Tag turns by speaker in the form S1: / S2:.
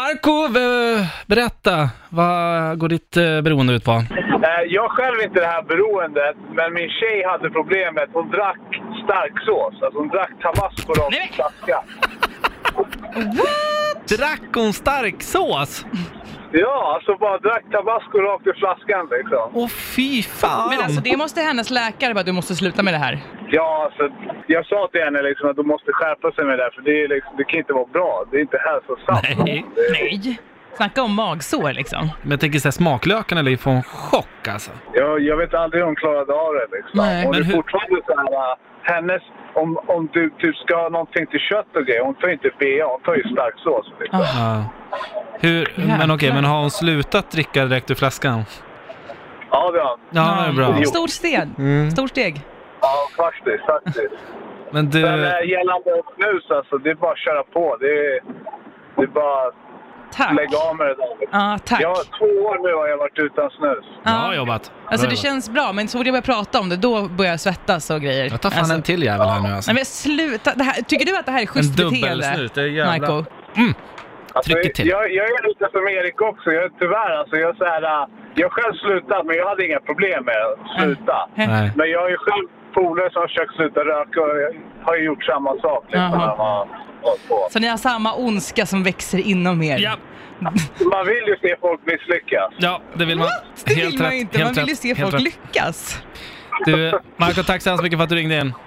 S1: Marco, eh, berätta. Vad går ditt eh, beroende ut på?
S2: Eh, Jag själv inte det här beroendet, men min tjej hade problemet. Hon drack starksås. Alltså hon drack tabasco rakt
S1: Nej,
S2: i flaskan.
S1: Drack hon starksås?
S2: Ja, alltså bara drack tabasco rakt i flaskan liksom.
S1: Åh fy fan!
S3: Men alltså det måste hennes läkare bara, du måste sluta med det här.
S2: Ja, alltså jag sa till henne liksom att hon måste skärpa sig med det här, för det, är liksom, det kan inte vara bra. Det är inte hälsosamt.
S1: Nej.
S3: Nej. Snacka om magsår liksom.
S1: Men jag tänker såhär, smaklökarna lär ju få en chock alltså.
S2: Jag, jag vet aldrig hur hon klarade av det liksom.
S3: Nej,
S2: hon
S1: men
S2: är
S1: hur-
S2: fortfarande så här, äh, hennes... Om, om du typ ska ha någonting till kött och grejer, hon tar ju inte BA, hon tar ju starksås. Liksom.
S1: Ja. Hur, men okej, men har hon slutat dricka direkt ur flaskan?
S2: Ja, det har hon.
S1: Ja, det är bra.
S2: Jo.
S3: Stort steg.
S1: Mm.
S3: Stort steg.
S2: Ja, faktiskt, faktiskt.
S1: Men
S2: Men
S1: du,
S3: Eh,
S2: äh, gällande snus alltså, det är bara att köra på. Det är, det är bara att
S3: Tack.
S2: lägga av med det där.
S3: Ja, tack.
S2: Jag, två år nu har jag varit utan snus.
S1: bra jobbat.
S3: Alltså
S1: Bra
S3: det
S1: jobbat.
S3: känns bra, men så fort jag börjar prata om det, då börjar jag svettas och grejer.
S1: Jag tar fan
S3: alltså,
S1: en till jävel här nu alltså.
S3: Nej men sluta, det här, tycker du att det här är schysst
S1: En
S3: beteende?
S1: dubbelsnut, det är jävla-
S3: Marco?
S2: Alltså,
S1: Trycket till.
S2: Jag, jag är lite som Erik också. Jag, tyvärr alltså, jag, är så här, äh, jag själv slutat, men jag hade inga problem med att sluta.
S3: Mm.
S1: Nej.
S2: Men jag har ju själv polare som har försökt sluta röka och jag har ju gjort samma sak. Liksom,
S3: Jaha.
S2: när man, har hållit på.
S3: Så ni har samma ondska som växer inom er?
S1: Ja,
S2: man vill ju se folk misslyckas.
S1: ja, det vill man.
S3: What? Det vill man ju inte, man
S1: helt
S3: vill ju
S1: rätt,
S3: se
S1: helt
S3: folk
S1: rätt.
S3: lyckas.
S1: Du, Marco, tack så hemskt mycket för att du ringde in.